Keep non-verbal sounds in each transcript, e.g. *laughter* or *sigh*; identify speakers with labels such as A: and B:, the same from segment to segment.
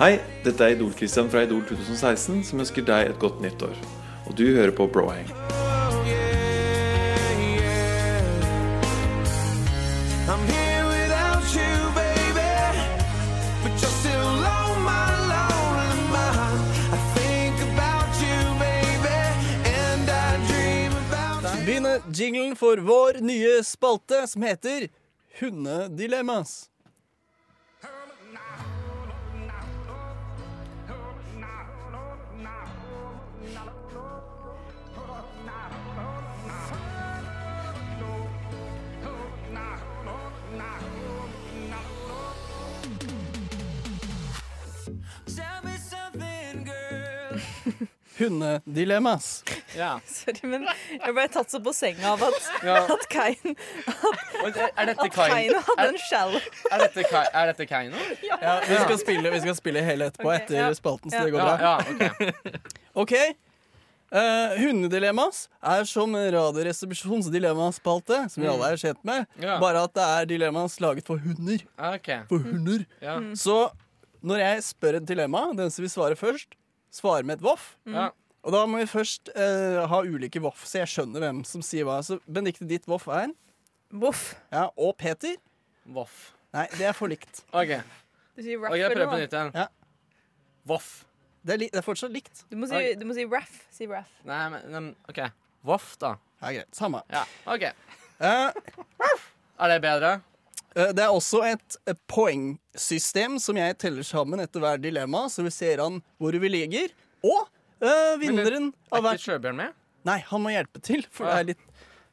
A: Hei, dette er Idol-Christian fra Idol 2016 som ønsker deg et godt nytt år. Og du hører på Brohang.
B: oh, I'm here without you, baby. But you're still on my lonely mind. I think about you, baby. And I dream about you.
C: Begynne jinglen for vår nye spalte som heter Hundedilemmas.
B: Tell me something, girl.
C: Hundedilemmas.
D: Ja.
E: Sorry, men jeg ble tatt så på senga av at,
D: Ja.
E: at Kain,
D: Og Er er dette Kaino?
E: Kain hadde
D: Er,
E: en skjell.
D: er dette, Kai, er dette Kaino?
C: Ja, vi, skal spille, vi skal spille hele etterpå,
E: Ok,
C: etter
E: ja.
C: spalten, så
E: Ja.
C: det går
D: Ja,
C: bra.
D: ja, ok.
C: *laughs* OK. Eh, hundedilemmas er som Radioresepsjonens dilemmaspalte, som vi alle er kjent med,
D: Mm. Ja.
C: bare at det er dilemmas laget for hunder.
D: Ok.
C: For hunder.
D: Ja.
E: Mm.
C: Så når jeg spør et dilemma, den som vil svare først, svarer med et voff.
E: Mm.
D: Ja.
C: Og da må vi først eh, ha ulike voff, så jeg skjønner hvem som sier hva. Så Benedicte, ditt voff er
E: Voff.
C: Ja, og Peter.
D: Voff.
C: Nei, det er for likt.
D: Ok,
E: Du sier
D: ok,
E: raff
D: jeg
E: eller
D: prøver på
E: noe.
D: nytt igjen.
C: Ja.
D: Voff.
C: Det er, li det er fortsatt likt.
E: Du må si, du må si raff. Si raff.
D: Nei, men, men OK. Voff, da.
C: Ja, greit. Samme.
D: Ja, OK.
C: Eh,
D: Er det bedre?
C: eh, det er også et eh, poengsystem som jeg teller sammen etter hver dilemma, så vi ser an hvor vi ligger. Og eh, vinneren av
D: Er ikke
C: hvert
D: Sjøbjørn med?
C: Nei, han må hjelpe til, for det
D: Ja.
C: er litt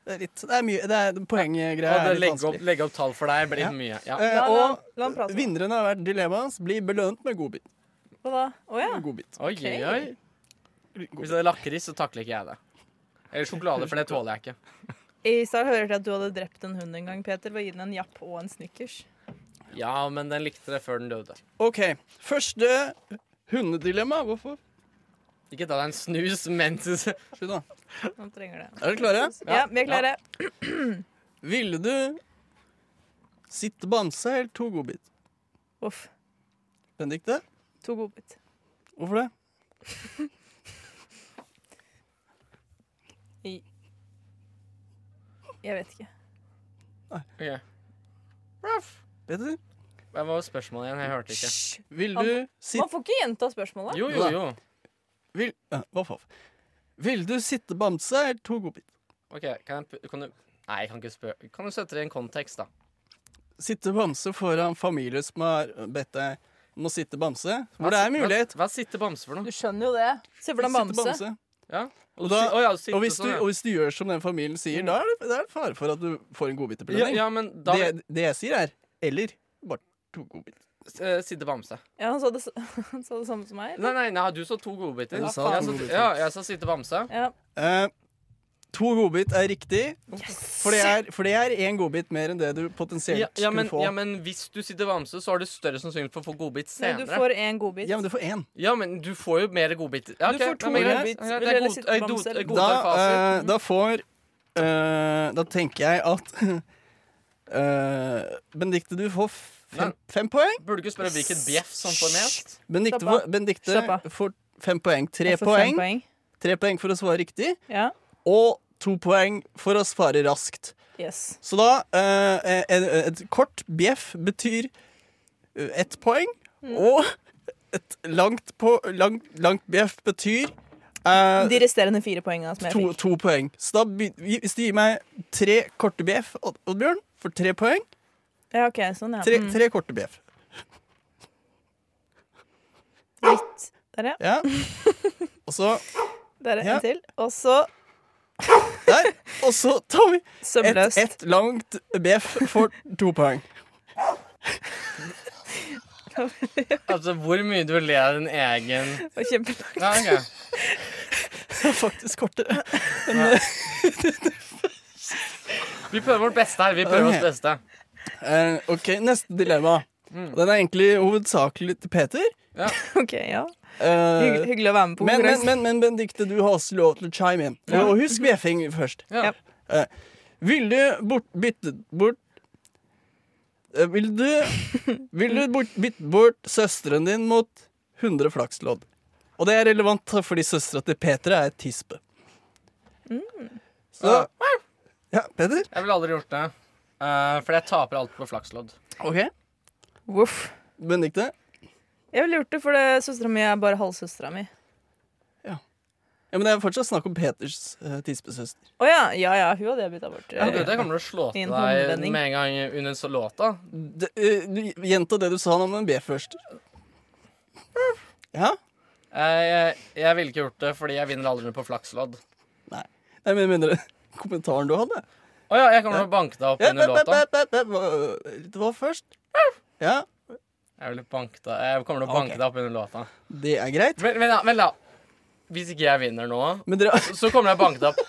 C: Det er, litt, det er mye Det er
D: Å,
C: poenggreier.
D: det
C: er Eh, litt
D: legge, opp,
C: vanskelig.
D: legge opp tall for deg blir
C: Ja.
D: mye. Ja.
C: Eh,
E: La, la,
C: og
E: la han prate.
C: vinneren av hvert dilemma blir belønt med godbit.
E: Hva da? Å ja.
C: godbit.
D: Oi,
E: ok.
D: oi. Hvis det er lakris, så takler ikke jeg det. Eller sjokolade, for det tåler jeg ikke.
E: I stad hører jeg til at du hadde drept en hund en gang, Peter, ved å gi den en japp og en snickers.
D: Ja, men den likte det før den døde.
C: OK. Første hundedilemma. Hvorfor?
D: Ikke ta deg en snus mens
C: Slutt, da.
E: Han trenger det.
C: Er dere klare?
E: Ja, vi er klare.
C: Ville du sitte bamse eller to godbit?
E: Voff.
C: Benedikte?
E: To godbit.
C: Hvorfor det?
E: I Jeg vet ikke.
D: Ok.
C: Peter?
D: Hva var spørsmålet igjen? Jeg hørte ikke.
C: Hysj! Vil
E: Han-
C: du sitte
E: Man får ikke gjenta spørsmålet.
D: Jo, jo, jo.
C: vil, eh, hva faen? Vil du sitte bamse eller to godbit?
D: OK, kan jeg p- kan du Nei, jeg kan ikke spørre Kan du sette det i en kontekst, da?
C: Sitte bamse foran familie som har bedt deg om å sitte bamse?
D: Hva
C: Hvor det
D: sit-
C: er mulighet.
D: Hva, hva sitter bamse for
E: Du
D: noe?
E: skjønner jo det. Se for deg
C: Sitte
E: bamse.
D: Ja.
C: Og
D: du
C: da-
D: sit- å ja, du sitter
C: Og hvis, du,
D: sånn, ja. Mm.
C: og hvis du gjør som den familien sier, da er det, da er det fare for at du får en
D: ja,
C: godbitebelønning.
D: ja, men da
C: det, det jeg sier, er eller bare to godbit.
D: eh, sitter bamse.
E: Ja, han sa det, s- *laughs* han sa det samme som meg.
D: Nei, nei, nei, du sa to godbiter.
C: Du
D: Ja,
C: sa
D: faen,
C: to
D: jeg
C: godbiter.
D: Ja, jeg sa sitter bamse.
E: Ja.
C: Eh, to godbit er riktig, for det er- for det er én godbit mer enn det du potensielt
D: Ja, ja, men,
C: skulle få.
D: ja, men hvis du sitter bamse, så har du større sannsynlighet for å få godbit
E: Nei, du
D: senere.
E: får én godbit.
C: Ja, men du får én.
D: Ja, men du får jo mer godbiter. Ja,
E: Du
D: ok,
E: får to
D: ja, men greit.
E: godbiter. Vil
D: Ja, det
E: du
D: er
E: heller
D: god,
E: sitte
D: jeg
E: bamse,
D: god,
E: eller?
D: jeg
C: Da,
D: godtar fasit.
C: eh, da får eh, Da tenker jeg at *laughs* uh, Benedicte, du får fem,
D: Nei.
C: fem poeng.
D: Burde du ikke spørre hvilket bjeff som får mest?
C: Benedicte,
E: Slapp av.
C: får, Benedikte
E: Slapp av.
C: får fem poeng. Tre
E: Altså fem
C: poeng.
E: poeng.
C: Tre poeng for å svare riktig,
E: Ja.
C: og to poeng for å svare raskt.
E: Yes.
C: Så da eh, et, et kort bjeff betyr eh, ett poeng, og et langt, på, langt, langt bjeff betyr eh,
E: De resterende fire poengene som jeg
C: to,
E: fikk.
C: to poeng. Så da, by- hvis du gir meg tre korte bjeff, Odd- Oddbjørn, for tre poeng
E: Ja, ok, sånn, ja.
C: Tre,
E: Mm.
C: tre korte bjeff.
E: Litt. Der, ja.
C: Ja. Og så
E: Der, ja.
C: Ja.
E: En til. Og så
C: der. Og så tar vi ett
E: sømløst.
C: et langt bjeff for to poeng.
D: Altså, hvor mye du ler av din egen
E: Og kjempelangt.
D: Ja, ok.
C: *laughs* Det er faktisk kortere.
D: Vi prøver vårt beste her. Vi
C: Ok.
D: prøver vårt beste.
C: Eh, OK, neste dilemma. Den er egentlig hovedsakelig til Peter.
E: *laughs* OK, ja.
C: Eh,
E: Hygg, hyggelig å være med på
C: men, men,
E: konkurransen.
C: men, men Benedikte, du har også lov til å chime in. Og husk bjeffing først.
D: Ja.
E: Ja.
C: Ville bort, byttet bort Eh, Vil du, vil du bort, bytte bort søsteren din mot 100 flakslodd? Og det er relevant fordi søstera til Peter er et tispe. Så Ja, Peter?
D: Jeg ville aldri gjort det. Eh, fordi jeg taper alt på flakslodd.
C: OK.
E: Voff.
C: Benedicte?
E: Jeg ville gjort det, for det- søstera mi er bare halvsøstera mi.
C: Ja, men det er fortsatt snakk om Peters eh, tispesøster.
E: Å ja, ja ja, hun hadde jeg bytta bort.
D: Ja, du, det kommer til å slå
E: I en
D: til deg
E: håndvending.
D: med en gang under så låta.
C: Det- eh, du- Gjenta det du sa om en B først. Ja?
D: Eh, jeg jeg ville ikke gjort det fordi jeg vinner aldri på flakslodd.
C: Nei, men jeg mener *laughs* kommentaren du hadde.
D: Å ja, jeg kommer til å banke deg opp
C: Ja,
D: under
C: bæ, bæ,
D: låta.
C: bæ, bæ, bæ. Det var først. Ja,
D: Jeg, vil banke deg. jeg kommer til å banke
C: Ok.
D: deg opp under låta.
C: det er greit.
D: Vel, vel, da, vel da. Hvis ikke jeg vinner nå,
C: Men dere
D: så kommer jeg til å banke deg opp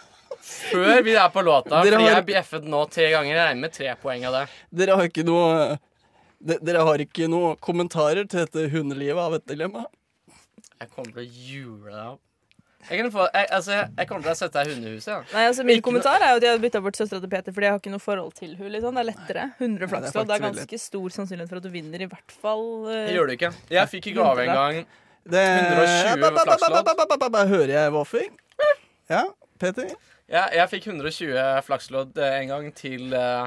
D: før vi er på låta.
C: Dere
D: Fordi
C: har-
D: jeg bjeffet nå tre ganger. Jeg regner med tre poeng av det.
C: Dere har ikke noe de, Dere har ikke noe kommentarer til dette hundelivet av et dilemma?
D: Jeg kommer til å jule deg opp. Jeg, kan få, jeg, altså, jeg, jeg kommer til å sette deg i hundehuset. Ja.
E: Nei, altså Min
D: Ikke noe-
E: kommentar er jo at jeg hadde bytta bort søstera til Peter fordi jeg har ikke noe forhold til hun, liksom. Det er lettere. 100 flakslodd.
C: faktisk
E: Det er ganske stor sannsynlighet for at du vinner, i hvert fall.
D: Det
E: eh,
D: gjør du ikke. Jeg fikk i gave en gang.
C: Det,
D: 120
C: Ba, ba, ba, ba,
D: flakslodd.
C: ba, ba, ba, ba, ba. Hører jeg vaffing? Ja, Peter?
D: Jeg, jeg fikk 120 flakslodd eh, en gang til eh,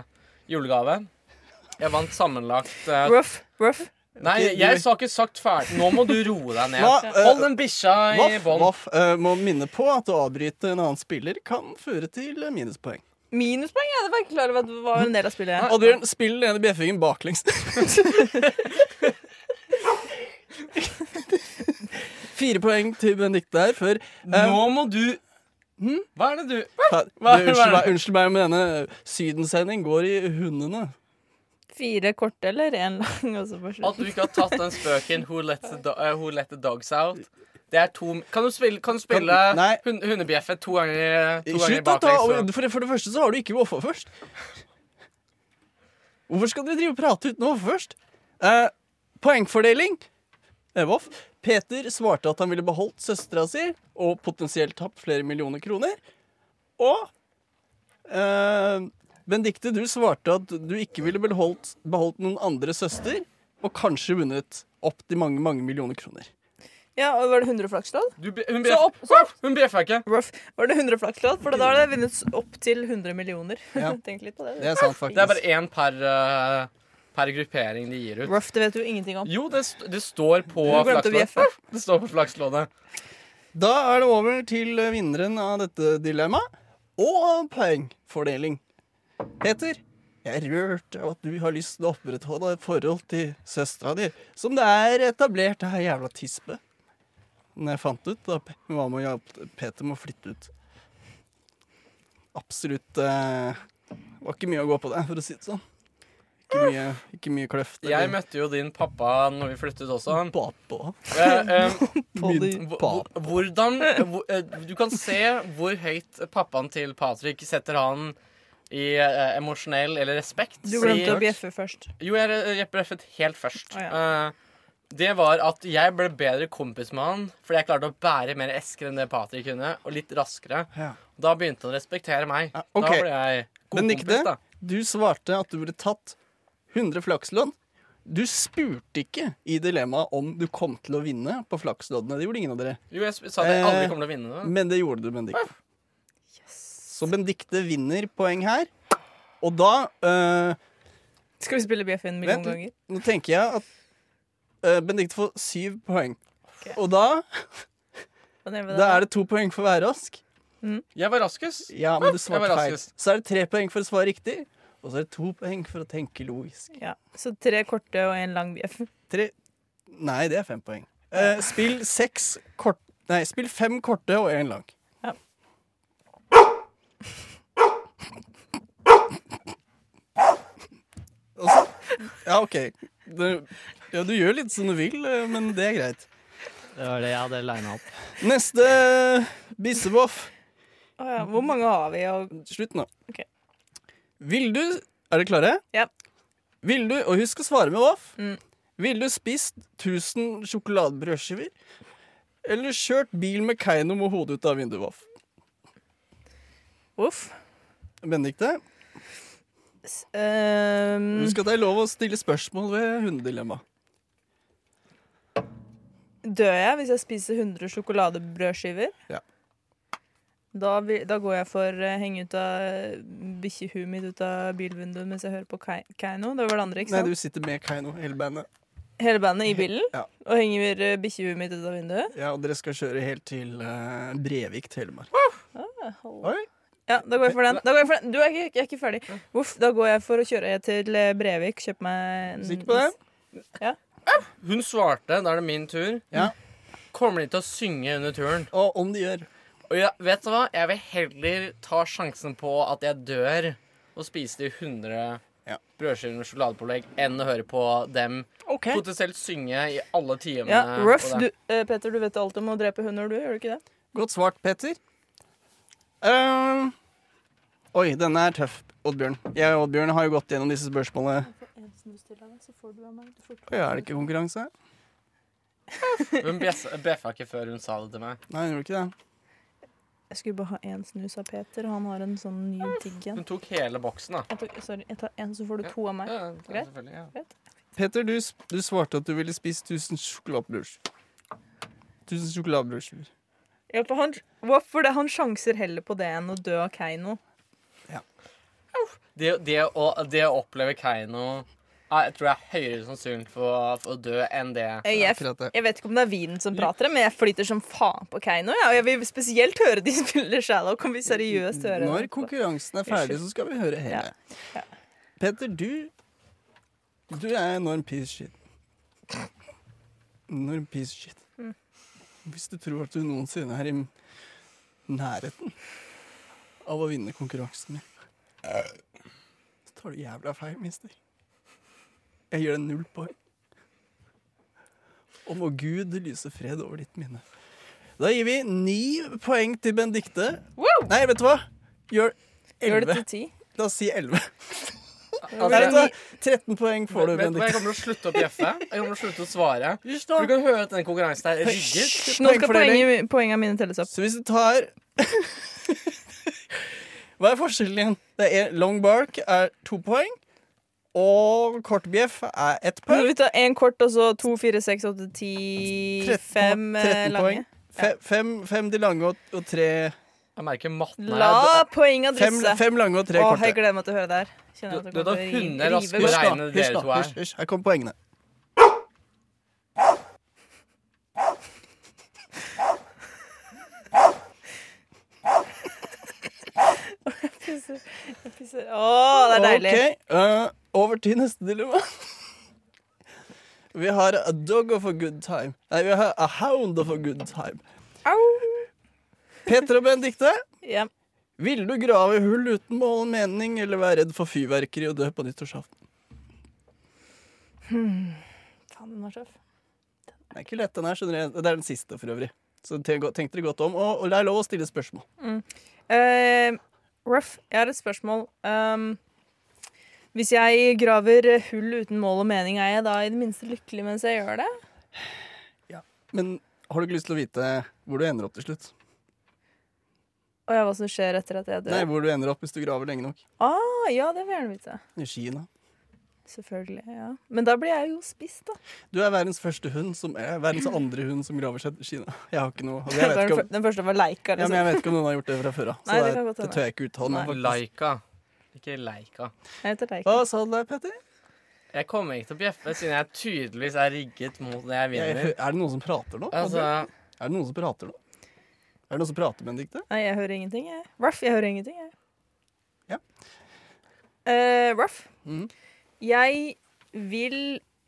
D: julegave. Jeg vant sammenlagt eh,
E: Rough, rough.
D: Nei,
C: Ok,
D: jeg
C: du-
D: har ikke sagt ferdig. Nå må du roe deg ned.
C: Hva, eh,
D: Hold den bikkja i
C: Vaff,
D: bånd.
C: vaff eh, må minne på at å avbryte en annen spiller kan føre til minuspoeng.
E: Minuspoeng? Jeg hadde vært klar over at det var
C: Mm,
E: en del av spillet. jeg.
C: Oddbjørn, spill den ene bjeffingen baklengs.
D: *laughs*
C: Fire poeng til Benedicte her før eh, hm?
D: Nå må du Hva er det du
C: fa-
D: hva-
C: du,
D: hva er
C: Unnskyld meg,
D: det?
C: unnskyld meg, men denne sydensending går i hundene.
E: Fire korte eller én lang, og så på
D: At du
E: slutten.
D: ikke har tatt den spøken Who let the, do eh, who let the dogs out? Det er to Kan du spille, kan du spille
C: Kan- nei.
D: hun, hundebjeffet to ganger, to ganger
C: Slutt å ta
D: baklengs?
C: for, for det første så har du ikke voffa først. Hvorfor skal dere drive og prate uten å voffe først? Eh, poengfordeling. Eh, voff. Peter svarte at han ville beholdt søstera si og potensielt tapt flere millioner kroner. Og eh, Benedicte, du svarte at du ikke ville beholdt, beholdt noen andre søster og kanskje vunnet opp til mange, mange millioner kroner.
E: Ja, og var det 100 flakslodd?
D: Du bje- hun
E: Så
D: bjeff-
E: opp, så opp.
D: Hun bjeffa ikke.
E: Rough. Var det 100 flakslodd? For da har det vunnet opp til 100 millioner.
C: Ja.
E: *laughs* Tenk litt på det.
C: Det er sant, faktisk.
D: Det er bare én per, eh, per gruppering de gir ut.
E: Rough, det vet du ingenting om.
D: Jo, det, st det står på
E: Du glemte å bjeffe.
D: flakslådet. *laughs* Det står på flakslådet.
C: Da er det over til vinneren av dette dilemmaet og poengfordeling. Peter, jeg er rørt av at du har lyst til å opprettholde et forhold til søstera di, som det er etablert det her jævla tispe. Men jeg fant ut da Pe- hva med å hjelpe Peter med å flytte ut. Absolutt eh, Var ikke mye å gå på der, for å si det sånn. Ikke mye, ikke mye kløft.
D: Jeg møtte jo din pappa når vi flyttet også.
C: Bapa.
D: Eh, eh,
C: Min
D: hvor-
C: pap.
D: hvor- hvordan hvor, eh, Du kan se hvor høyt pappaen til Patrick setter han i eh, emosjonell eller respekt.
E: Du glemte å
D: Fordi-
E: bjeffe først.
D: Jo, jeg re- jeg bjeffet helt først.
E: Å,
D: Eh, det var at jeg ble bedre kompis med han fordi jeg klarte å bære mer esker enn det Patrick kunne, og litt raskere.
C: Ja.
D: Da begynte han å respektere meg.
C: Ja, ok.
D: Da ble jeg god
C: Benedikte,
D: kompis, da.
C: du svarte at du ville tatt 100 flakslodd. Du spurte ikke i dilemmaet om du kom til å vinne på flaksloddene. Det gjorde ingen av dere.
D: Jo, jeg sp- sa at jeg aldri
C: Eh,
D: kommer til å vinne det.
C: Men det gjorde du, Benedikte.
D: Ah.
C: Så Benedikte vinner poeng her. Og da eh,
E: Skal vi spille bjeffe en million
C: Vent
E: ganger?
C: litt. Nå tenker jeg at uh, Benedikte får syv poeng. Og da, da er det to poeng for hver rask.
D: Jeg var raskest.
C: Ja, men du
D: Ah, Jeg var
C: svarte feil.
D: raskest.
C: Så er det tre poeng for å svare riktig. Og så er det to poeng for å tenke logisk.
E: Ja, Så tre korte og én lang bjeff.
C: Tre Nei, det er fem poeng. Eh, spill seks kort... Nei, spill fem korte og én lang.
E: Ja.
C: Og så- Ja, OK. Det, ja, du gjør litt som du vil, eh, men det er greit.
F: Det var det jeg hadde lina opp.
C: Neste eh, bissevoff.
E: Å ja. Hvor mange har vi? Og...
C: Slutt nå.
E: Ok.
C: Vil du Er dere klare?
E: Ja.
C: Vil du Og husk å svare med voff.
E: Mm.
C: Vil du spist 1000 sjokoladebrødskiver? Eller kjørt bil med Keiino med hodet ut av vinduet, voff?
E: Uff.
C: Benedikte?
E: s- ehm,
C: Husk at det er lov å stille spørsmål ved hundedilemma.
E: Dør jeg hvis jeg spiser 100 sjokoladebrødskiver?
C: Ja.
E: Da, vil, da går jeg for å henge ut av bikkjehuet mitt ut av bilvinduet mens jeg hører på Kai- Keiino. Det var det andre, ikke
C: Nei,
E: sant?
C: du sitter med Keiino, hele bandet.
E: Hele bandet i bilen,
C: Ja.
E: og henger eh, bikkjehuet mitt ut av vinduet.
C: Ja, og dere skal kjøre helt til eh, Brevik, Telemark. Oi.
E: Ja, da går jeg for den. Da går jeg for den. Du er ikke, jeg er ikke ferdig. Uff, da går jeg for å kjøre til eh, Brevik, kjøpe meg en
C: Sikker på det?
D: Hun svarte, da er det min tur.
C: Ja.
D: Kommer de til å synge under turen?
C: Og om de gjør.
D: Og ja, vet du hva? Jeg vil heller ta sjansen på at jeg dør og spise de 100
C: Ja.
D: brødskiver med sjokoladepålegg enn å høre på dem
C: Ok.
D: potensielt synge i alle timene.
E: Ja, Ruff,
D: og
E: du,
D: det.
E: eh, Peter, du vet alt om å drepe hunder, du? Gjør du ikke det?
C: Godt svart, Petter. Eh, oi, denne er tøff, Oddbjørn. Jeg og Oddbjørn har jo gått gjennom disse spørsmålene. Oi, er det ikke konkurranse?
D: Hun bjeffa bjeffa ikke før hun sa det til meg.
C: Nei, gjør det ikke det?
E: Jeg skulle bare ha én snus av Peter, og han har en sånn ny digg en.
D: Hun tok hele boksen, da.
E: Jeg tok, sorry, jeg tar en, så får du to av meg.
D: Ja, ja,
E: Greit.
D: selvfølgelig, ja.
C: Petter, du, sp- du svarte at du ville spise 1000 sjokoladebrødskiver. 1000 sjokoladebrødskiver.
E: Ja, for han, hvorfor det? Han sjanser heller på det enn å dø av Keiino.
D: Det, det, å, det å oppleve Keiino er- jeg tror jeg er høyere sannsynlig for, for å dø enn det.
E: Eh, Jeg,
C: akkurat det.
E: jeg vet ikke om det er vinen som prater, men jeg flyter som faen på Keiino. Ja, og jeg vil spesielt høre de *laughs* spiller shallow. Kan vi seriøst høre
C: Når
E: det?
C: konkurransen er ferdig, så skal vi høre hele. Petter, du Du er enorm piece of shit. Enorm piece of shit.
E: Mm.
C: Hvis du tror at du noensinne er i nærheten av å vinne konkurransen min, så tar du jævla feil, mister. Jeg gir deg null poeng. Og må Gud lyse fred over ditt minne. Da gir vi ni poeng til Benedicte. Nei, vet du hva? Gjør
E: Gjør det
C: elleve.
E: til ti.
C: La oss si 11.
D: Altså,
C: Nei, vet du hva? 13 poeng får du,
D: Vet du hva, Jeg
C: Benedikt.
D: kommer til å slutte å bjeffe. Jeg kommer til å slutte å svare.
C: *laughs*
D: For Du kan høre at den konkurransen her rigger.
E: Nå skal
C: Poengfordeling.
E: poenget, poengene mine telles opp.
C: Så hvis du tar *laughs* Hva er forskjellen igjen? Det er long bark er to poeng, og kort bjeff er ett
E: Når
C: poeng.
E: vi tar én kort, og så to, fire, seks, åtte, ti,
C: 13
E: fem eh,
C: 13 poeng.
E: lange.
C: Fe- Fem, fem de lange og, og tre
D: Jeg merker matten her.
E: La poenga
C: fem,
E: drysse.
C: fem lange og tre
E: Åh, jeg
C: korte.
E: gleder meg til å høre det her. Kjenner
D: Du-
E: at det
D: du,
E: kommer
D: da
E: til å ri-
D: hunder raskere.
E: rive.
C: Husk da,
D: Regner
C: husk
D: dere to
C: da,
D: her.
C: hysj, hysj. Her kommer poengene.
E: Åh, det er deilig.
C: Ok, eh, over til neste dilemma. *laughs* Vi har a dog of a good time. Nei, vi har a hound of a good time.
E: Au.
C: Peter og Benedikte,
E: Ja.
C: ville du grave hull uten mål og mening, eller være redd for fyrverkeri og dø på nyttårsaften?
E: Faen, den var tøff.
C: Det er ikke lett, den her, skjønner jeg. Det er den siste, for øvrig. Så tenk tenk dere godt om, og, og det er lov å stille spørsmål.
E: Eh, Ruff, jeg har et spørsmål. Um, hvis jeg graver hull uten mål og mening, er jeg da i det minste lykkelig mens jeg gjør det?
C: Men har du ikke lyst til å vite hvor du ender opp til slutt?
E: Og ja, hva som skjer etter at jeg dør?
C: Nei, hvor du ender opp hvis du graver lenge nok.
E: Ah, ja, det vil jeg gjerne vite.
C: I Kina.
E: Selvfølgelig. ja. Men da blir jeg jo spist, da.
C: Du er verdens første hund som er verdens andre hund som graver seg til Kina. Jeg har ikke noe.
E: *laughs*
C: og Jeg
E: Den,
C: vet ikke om,
E: fyr- den første var leika,
C: Ja,
E: liksom.
C: men jeg vet ikke om noen har gjort det fra før av. Så
E: Nei,
C: det,
E: det kan godt
C: det
E: hende.
C: tør jeg ikke uttale meg
D: Og
C: om.
D: Laika. Ikke Leika.
E: Jeg heter leika.
C: Hva sa du der, Petter?
D: Jeg kommer ikke til å bjeffe siden jeg tydeligvis er rigget mot det jeg
C: Jeg,
D: vinner.
C: hø- er det noen som prater nå?
D: Altså,
C: Er det noen som prater nå? Er det noen som prater, Benedikte?
E: Nei, jeg hører ingenting, jeg. Ruff, jeg hører ingenting, jeg.
C: Ja.
E: Eh, Ruff.
C: Mhm.
E: Jeg vil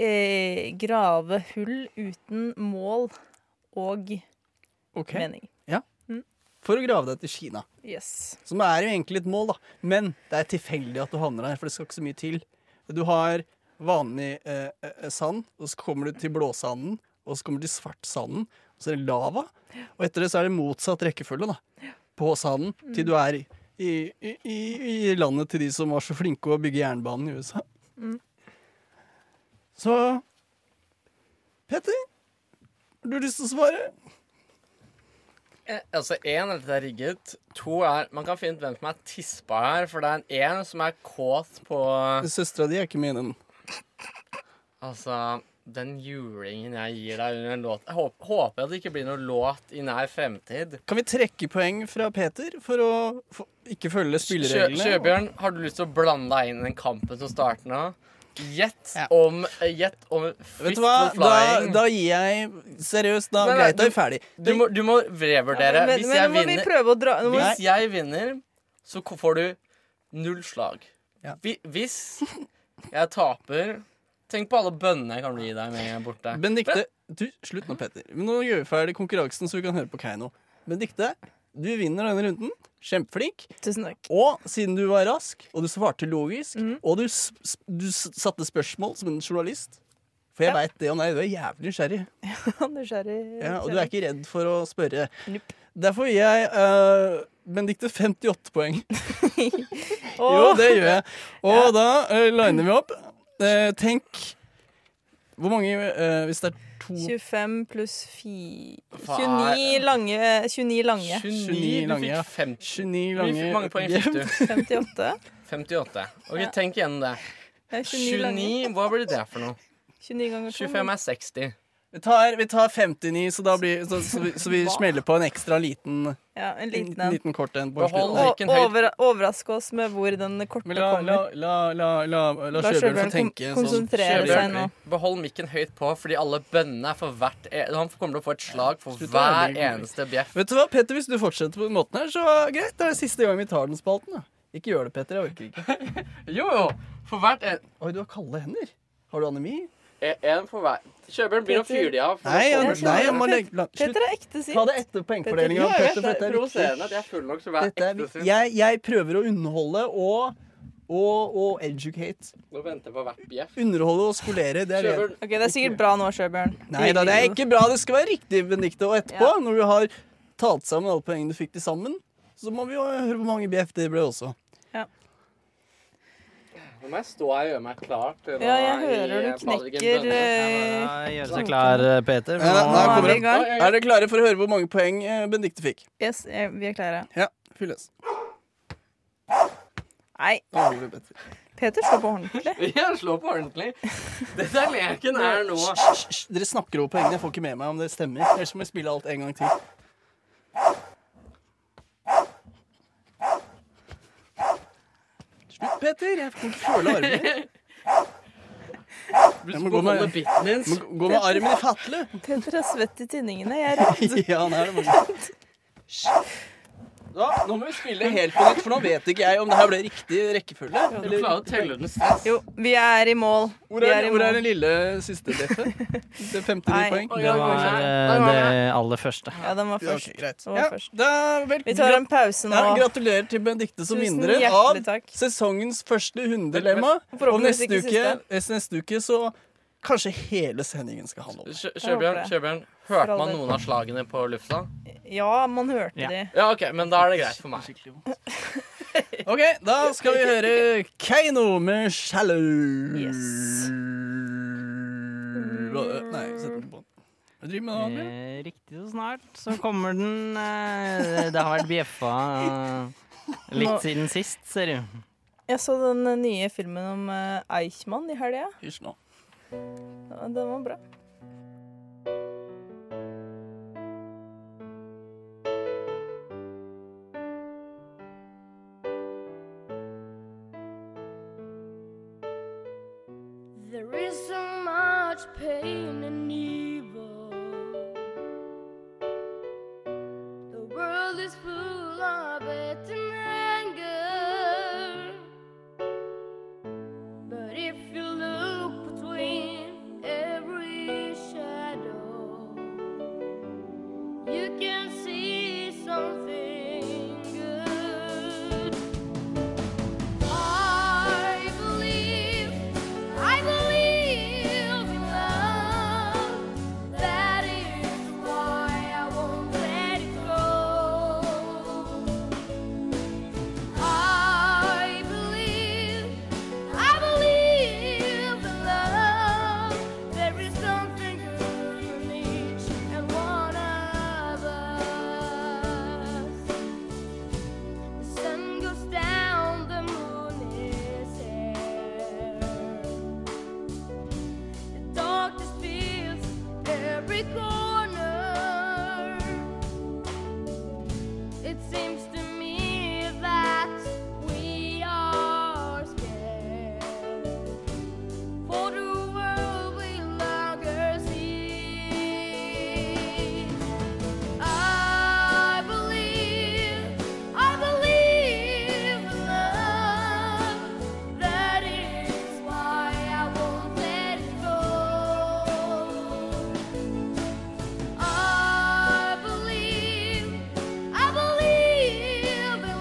E: eh, grave hull uten mål og
C: Ok.
E: mening.
C: For å grave deg til Kina,
E: Yes.
C: som er jo egentlig et mål, da. Men det er tilfeldig at du havner der, for det skal ikke så mye til. Du har vanlig eh, eh, sand, og så kommer du til blåsanden, og så kommer du til svartsanden, og så er det lava. Og etter det så er det motsatt rekkefølge, da. På sanden, til du er i, i, i, i landet til de som var så flinke å bygge jernbanen i USA. Så Petter, har du lyst til å svare?
D: Eh, Altså, én er at dette er rigget. To er Man kan finne ut hvem som er tispa her, for det er en en som er kåt på
C: Søstera di er ikke med i den.
D: Altså den julingen jeg gir deg under en låt Jeg håper, håper at det ikke blir noen låt i nær fremtid.
C: Kan vi trekke poeng fra Peter for å for, ikke følge
D: Sjø,
C: spillereglene?
D: Sjøbjørn, har du lyst til å blande deg inn i den kampen som starter nå? Gjett
F: Ja.
D: om eh, Gjett om
C: Vet
D: Fist
C: du hva,
D: for
C: da,
D: flying.
C: da gir jeg Seriøst, da.
D: Nei, nei,
C: greit, da er vi ferdig.
D: du, må, du må revurdere.
E: men,
D: hvis,
E: men
D: jeg
E: nå må vi
D: vinner,
E: prøve å dra nå må vi,
D: hvis jeg vinner, så ko- får du null slag.
C: Ja.
D: Hvi- Hvis jeg taper Tenk på alle bønnene jeg kan gi deg med borte.
C: Benedikte, du, slutt nå, Petter. Men nå gjør vi ferdig konkurransen, så vi kan høre på Keiino. Benedikte, du vinner denne runden. Kjempeflink.
E: Tusen takk. *laughs*
C: Og siden du var rask, og du svarte logisk,
D: Mhm.
C: og du, s- s- du s- satte spørsmål som en journalist For jeg
E: Ja.
C: vet veit det og nei, du er jævlig nysgjerrig.
E: Nysgjerrig.
C: Ja, og du er ikke redd for å spørre.
E: Nope.
C: Derfor gir jeg uh, Benedikte 58 poeng. *laughs* Jo,
E: Åh,
C: det gjør jeg. Og da eh, liner vi opp. Eh, tenk Hvor mange eh, Hvis det er to
E: 25 pluss 4
D: Faen.
E: 29 lange. 29 lange.
D: 29, du
C: lange, ja.
D: fikk 50.
C: 29
D: Hvor
C: lange
D: mange poeng fikk du?
E: 58.
D: 58. Ok,
E: Ja.
D: Tenk igjennom
E: *laughs*
D: det.
E: Det er 29 lange.
D: 29, hva blir det for
E: *laughs*
D: noe?
E: 29 ganger 2.
D: 25 er 60.
C: Vi tar, vi tar 59, så, da blir, så, så, vi, så vi
E: Hva?
C: smeller på en ekstra liten,
E: Ja, en
C: en
E: liten en.
C: liten kort en. på
D: Behold-
C: slutten.
E: Og
D: Hvilken høyt-
E: overra- overraske oss med hvor den korte
C: Men la, la,
E: kommer.
C: la, la, la, la
E: La
C: Sjøbjørn
E: Sjøbjørn
C: få tenke.
E: kon-
C: sånn.
E: konsentrere seg
D: Sjøbjørn.
E: nå.
D: Behold mikken høyt på, fordi alle bønnene er for hvert e- Han kommer til å få et slag for
C: Slutt å
D: hver
C: ødelegge.
D: eneste bjeff.
C: Vet du hva, Petter, hvis du fortsetter på den måten her, så greit. Det er det siste gang vi tar den spalten. Da. Ikke gjør det, Petter. Jeg orker ikke.
D: Jo, jo! For hvert en,
C: Oi, du har kalde hender. Har du anemi?
D: e- en for hver. Kjøperen blir å fyre de av. for
C: Nei,
D: nå
C: ja,
E: jeg-
D: kommer
C: nei
E: skjønner.
C: jeg må legge- la- Slutt.
E: Peter er ekte sint.
C: Ta det etter poengfordelinga.
E: Ja, jeg
C: Petter,
D: det
C: for dette er viktig.
D: provoserende at jeg er full nok til å være
C: Dette er
D: ekte
C: viktig.
D: sin.
C: Jeg, jeg prøver å underholde og, og, og educate.
D: Nå venter jeg på hvert bjeff.
C: Underholde og skolere. Det er det.
D: Kjøperen,
E: Ok, Det er sikkert bra nå, Sjøbjørn.
C: Nei da, det er ikke bra. Det skal være riktig, Benedicte. Og etterpå,
E: Ja.
C: når du har talt sammen alle poengene du fikk til sammen, så må vi jo høre hvor mange BF det ble også.
D: nå må jeg stå her og gjøre meg klar til
E: Ja, jeg
D: nå
E: hører
D: i- eh,
E: du
D: på alle de
E: knekker,
D: bønnene. *laughs*
E: eh,
F: Ja, Gjøre seg klar, eh, Peter.
C: Ja,
F: Sånn. Nå-
C: Nei,
E: Nå er
C: kommer
E: vi
C: den.
E: i gang.
D: Oi, oi, oi.
C: Er dere klare for å høre hvor mange poeng eh, Benedicte fikk?
E: Yes, eh, vi er klare.
C: Ja, fyll løs.
E: Nei,
C: Da gjorde vi bedre.
E: Peter slår på ordentlig.
D: Jeg slår på ordentlig. Dette er leken er nå.
C: Hysj, hysj, Dere snakker over poengene. Jeg får ikke med meg om det stemmer. Ellers må jeg spille alt en gang til. Slutt, Peter. Jeg kan ikke føle armene.
D: Du
C: Jeg må
D: skal
C: gå med-
D: beholde biten din.
C: Må gå med armen i fatle.
E: Peter er svett i tinningene. Jeg er redd.
C: *laughs* ja, nei, det var da, nå må vi spille helt på nytt, for nå vet ikke jeg om det her ble riktig rekkefølge.
D: Du
C: Eller,
D: klarer å telle den stress.
E: Jo, vi er i mål.
C: hvor,
E: Vi
C: er,
E: er i
C: hvor er
E: mål.
C: den lille siste bjeffet? Det er 59
E: Nei.
C: poeng.
F: Det var eh, det Eh, aller første.
E: Ja, den var
C: Ja,
E: først.
C: ok, greit.
E: Det var
C: Ja,
E: først.
C: da, vel,
E: Vi tar en pause nå.
C: ja, gratulerer til Benedicte som
E: Tusen
C: vinner av
E: hjertelig takk.
C: sesongens første hundelemma. Og
E: Forhåpentligvis
C: neste
E: ikke
C: uke, eh, neste uke så kanskje hele sendingen skal handle om det.
D: Sjø-
E: Jeg
D: Sjøbjørn,
E: håper det.
D: Sjøbjørn, hørte
E: all
D: man
E: del.
D: noen av slagene på lufta?
E: Ja, man hørte
F: Ja.
E: det.
D: Ja, OK, men da er det greit for meg.
C: OK, da skal vi høre Keiino med 'Shallow'.
E: Yes.
C: Nei, sett den på. Hva driver du med nå, Adrian?
F: Eh, Riktig så snart så kommer den eh, Det har vært bjeffa eh,
E: Nå-
F: litt siden sist, ser du.
E: Jeg så den eh, nye filmen om eh, Eichmann i helga.
C: Hysj nå.
E: Ja, Den var bra.
G: There is so much pain and evil. The world is full of it and anger. But if you look between every shadow, you can see something good. I believe, I believe in love. every corner. It seems to me that we are scared. For the world we longer see. I believe, I believe in love. That is why I won't let it go. I believe, I believe in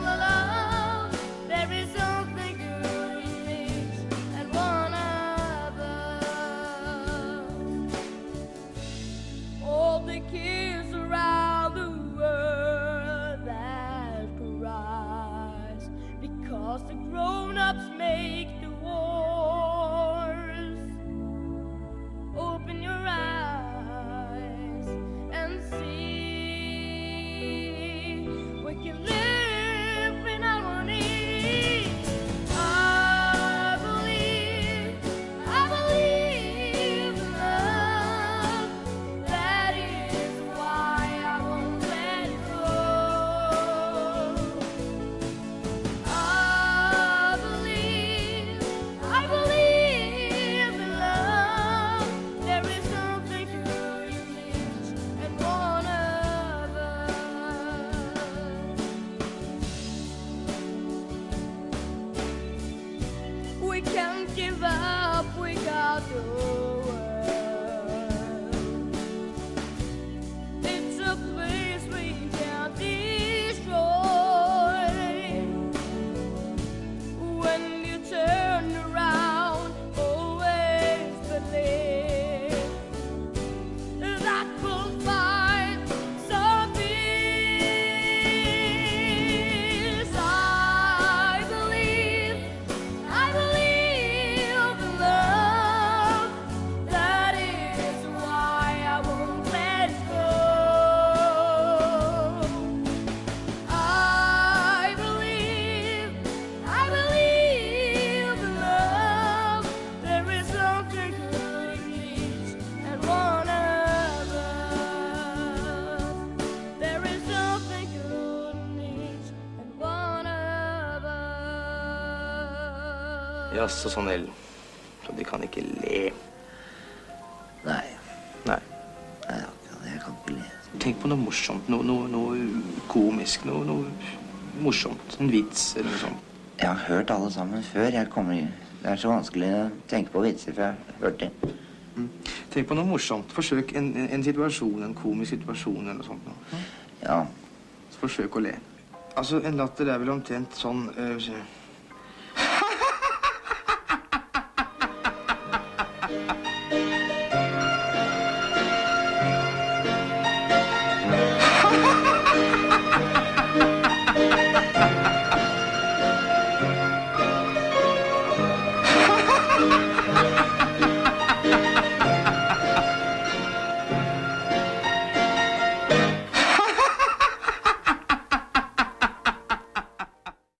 G: love. There is something good in each and one of us all the kids around the world that cries because the grown-ups make the wars. Open your eyes and see we can live in harmony. I believe, I believe in love. That is why I won't let go. I believe, I believe in love. There is something good in each and one of us. We can't give up. We got the world. It's a place we can't destroy. When you turn around, always believe that we'll find some peace. I believe, I believe in love. That is why I won't let go. I believe, I believe in love. There is something good in each and one of us. There is something good in each and one of us.
H: Jaså, sånn Ellen. Så de kan ikke le? Nei. Nei. Nei, jeg kan ikke le. Tenk på noe morsomt. Noe, noe, noe komisk. Noe, noe morsomt. En vits eller noe sånt. Jeg har hørt alle sammen før. Jeg kommer Det er så vanskelig å tenke på vitser, for jeg har hørt det. Mm. Tenk på noe morsomt. Forsøk en, en, en situasjon, en komisk situasjon eller noe sånt. Ja. Forsøk å le. Altså, en latter er vel omtrent sånn øh,